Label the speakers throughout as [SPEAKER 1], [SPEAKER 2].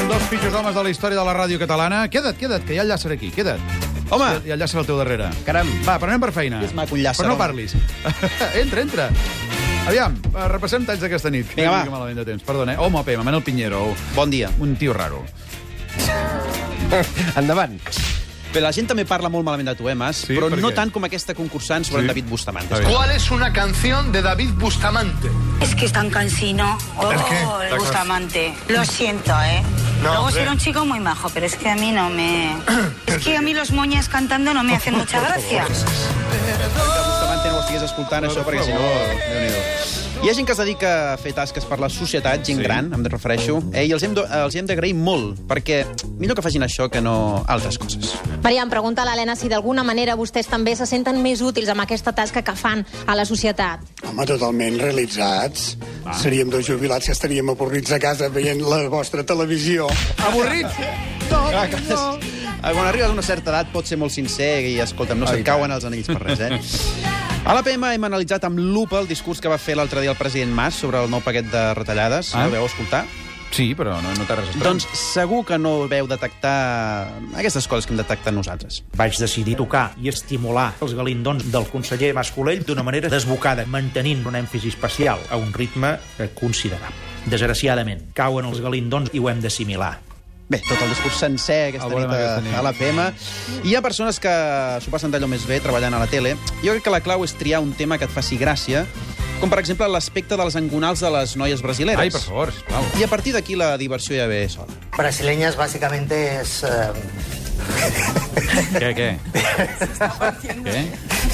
[SPEAKER 1] Un dels pitjors homes de la història de la ràdio catalana. Queda't, queda't, que hi ha el llàcer aquí, queda't.
[SPEAKER 2] Home!
[SPEAKER 1] Hi ha el llàcer al teu darrere.
[SPEAKER 2] Caram.
[SPEAKER 1] Va, però anem per feina.
[SPEAKER 2] És maco el llàcer,
[SPEAKER 1] Però no
[SPEAKER 2] home.
[SPEAKER 1] parlis. entra, entra. Aviam, eh, repassem talls d'aquesta nit. que
[SPEAKER 2] Vinga,
[SPEAKER 1] no
[SPEAKER 2] va.
[SPEAKER 1] estic Malament de temps. Perdona, eh? Home, Pema, Manel Piñero,
[SPEAKER 2] Bon dia.
[SPEAKER 1] un tio raro.
[SPEAKER 3] Endavant.
[SPEAKER 2] Bé, la gent també parla molt malament de tu, eh, Mas?
[SPEAKER 1] Sí,
[SPEAKER 2] però
[SPEAKER 1] per
[SPEAKER 2] no
[SPEAKER 1] què?
[SPEAKER 2] tant com aquesta concursant sobre
[SPEAKER 1] Sí.
[SPEAKER 2] en David Bustamante.
[SPEAKER 1] Està bé.
[SPEAKER 4] ¿Cuál es una canción de David Bustamante?
[SPEAKER 5] Es que es tan cansino. Oh,
[SPEAKER 4] ¿El qué? La
[SPEAKER 5] el
[SPEAKER 4] can-
[SPEAKER 5] Bustamante. Lo siento, ¿eh?
[SPEAKER 4] No,
[SPEAKER 5] Luego
[SPEAKER 4] hombre.
[SPEAKER 5] será un chico muy majo, pero es que a mí no me... Es que a mí los moñas cantando no me hacen mucha gracia.
[SPEAKER 2] Bustamante no ho estigués escoltant, això, perquè si no... Hi ha gent que es dedica a fer tasques per la societat, gent
[SPEAKER 1] Sí.
[SPEAKER 2] sí. gran, em refereixo, eh, i els hem, do- els hi hem d'agrair molt, perquè millor que facin això que no altres coses.
[SPEAKER 6] Mariam, pregunta a l'Helena si d'alguna manera vostès també se senten més útils amb aquesta tasca que fan a la societat.
[SPEAKER 7] Home, totalment realitzats. Ah. Seríem dos jubilats que estaríem avorrits a casa veient la vostra televisió.
[SPEAKER 1] Avorrit? No, no.
[SPEAKER 2] Eh, Quan arribes a una certa edat pot ser molt sincer i, escolta'm, no
[SPEAKER 1] Ah,
[SPEAKER 2] se't
[SPEAKER 1] i tant.
[SPEAKER 2] cauen els anells per res, eh? A la PM hem analitzat amb lupa el discurs que va fer l'altre dia el president Mas sobre el nou paquet de retallades.
[SPEAKER 1] Ah.
[SPEAKER 2] Ah. El veu escoltar?
[SPEAKER 1] Sí, però no, no t'ha res estrany.
[SPEAKER 2] Doncs segur que no veu detectar aquestes coses que hem detectat nosaltres.
[SPEAKER 8] Vaig decidir tocar i estimular els galindons del conseller Mascolell d'una manera desbocada, mantenint un èmfasi especial a un ritme eh, considerable. Desgraciadament, cauen els galindons i ho hem d'assimilar.
[SPEAKER 2] Bé, tot el discurs sencer aquesta
[SPEAKER 1] El volem
[SPEAKER 2] nit, a,
[SPEAKER 1] aquesta nit.
[SPEAKER 2] a la PM. Hi ha persones que s'ho passen d'allò més bé treballant a la tele. Jo crec que la clau és triar un tema que et faci gràcia, com per exemple l'aspecte de les engonals de les noies brasileres.
[SPEAKER 1] Ai, per favor, sisplau.
[SPEAKER 2] I a partir d'aquí la diversió ja ve sola.
[SPEAKER 9] Brasileñas básicamente es... eh,
[SPEAKER 1] Què, què? què?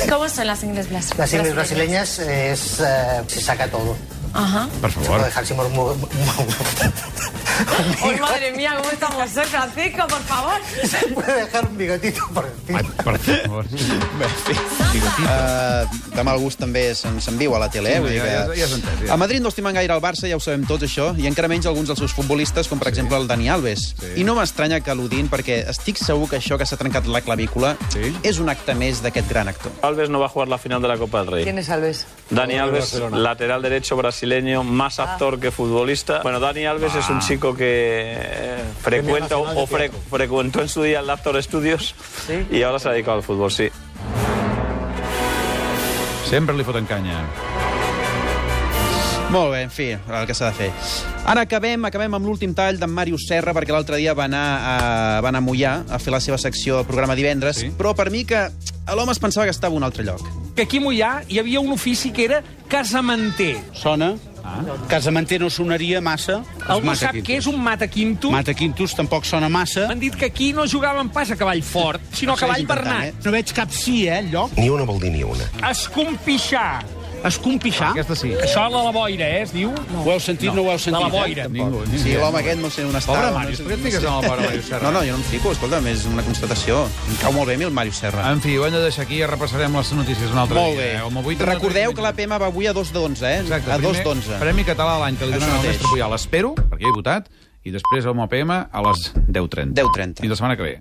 [SPEAKER 10] ¿Cómo son las ingles blas-
[SPEAKER 9] las ingles
[SPEAKER 10] brasileñas?
[SPEAKER 9] brasileñas es... eh, se saca todo.
[SPEAKER 10] Ajá.
[SPEAKER 1] Per favor.
[SPEAKER 9] dejar sin murmur...
[SPEAKER 10] Ay, Oh, madre mía, ¿cómo estamos? hoy, Francisco, por favor.
[SPEAKER 9] Se puede dejar un bigotito por encima.
[SPEAKER 1] Ai, per favor.
[SPEAKER 2] Bé, en fi. Uh, de mal gust també se'n se'n viu a la tele.
[SPEAKER 1] Sí,
[SPEAKER 2] eh? Vull dir
[SPEAKER 1] ja-
[SPEAKER 2] que...
[SPEAKER 1] ja- ja s'ha entès, ja.
[SPEAKER 2] A Madrid no estimen gaire el Barça, ja ho sabem tots, això, i encara menys alguns dels seus futbolistes, com per exemple el Dani Alves.
[SPEAKER 1] Sí.
[SPEAKER 2] I no m'estranya que l'odin, perquè estic segur que això que s'ha trencat la clavícula
[SPEAKER 1] Sí.
[SPEAKER 2] és un acte més d'aquest gran actor.
[SPEAKER 3] Alves no va a jugar la final de la Copa del Rey.
[SPEAKER 10] ¿Quién es Alves?
[SPEAKER 3] Dani Alves, lateral derecho brasileño, más actor que futbolista. Bueno, Dani Alves es
[SPEAKER 8] Ah.
[SPEAKER 3] un chico que eh, frecuenta o fre- frecuentó en su día el Actor Studios y ahora se ha dedicado al fútbol, sí.
[SPEAKER 1] Sempre li foten canya.
[SPEAKER 2] Ah. Molt bé, en fi, el que s'ha de fer. Ara acabem, acabem amb l'últim tall d'en Màrius Serra, perquè l'altre dia va anar, a, va anar a Mollà a fer la seva secció al programa divendres,
[SPEAKER 1] Sí.
[SPEAKER 2] sí. però per mi que l'home es pensava que estava a un altre lloc.
[SPEAKER 3] Que aquí Mollà hi havia un ofici que era casamenter.
[SPEAKER 11] Sona. Ah. Casamenter no sonaria massa.
[SPEAKER 3] Algú sap què és un mataquinto?
[SPEAKER 11] Mata Quintus tampoc sona massa.
[SPEAKER 3] M'han dit que aquí no jugaven pas a cavall fort, sinó a
[SPEAKER 2] Això és
[SPEAKER 3] cavall
[SPEAKER 2] important,
[SPEAKER 3] bernat.
[SPEAKER 11] No veig cap sí, eh, enlloc.
[SPEAKER 9] Ni una vol dir ni una.
[SPEAKER 3] Escompixar.
[SPEAKER 11] Escompixar.
[SPEAKER 1] Aquesta sí.
[SPEAKER 3] Això de la boira, eh, es diu?
[SPEAKER 11] Ho heu sentit, no, no ho heu sentit? eh?
[SPEAKER 3] De la boira.
[SPEAKER 1] Ningú, ningú.
[SPEAKER 2] Sí, l'home aquest no sé on està.
[SPEAKER 1] Pobre
[SPEAKER 2] no
[SPEAKER 1] Màrius,
[SPEAKER 2] sé-
[SPEAKER 1] per què et fiques amb el pobre Màrius Serra?
[SPEAKER 2] No, no, jo no em fico, escolta'm, és una constatació. Em cau molt bé a mi el Màrius Serra.
[SPEAKER 1] En fi, ho hem de deixar aquí i repassarem les notícies un altre
[SPEAKER 2] molt
[SPEAKER 1] dia.
[SPEAKER 2] bé.
[SPEAKER 1] eh? Home, avui-
[SPEAKER 2] Recordeu que la PM va avui a dos d'onze, eh?
[SPEAKER 1] Exacte,
[SPEAKER 2] a dos
[SPEAKER 1] primer,
[SPEAKER 2] d'onze.
[SPEAKER 1] Premi Català de l'any que li
[SPEAKER 2] Això
[SPEAKER 1] donen al
[SPEAKER 2] mateix.
[SPEAKER 1] mestre Puyol. Espero, perquè he votat, i després a UMAPM a les 10.30.
[SPEAKER 2] 10:30.
[SPEAKER 1] Fins la setmana que ve.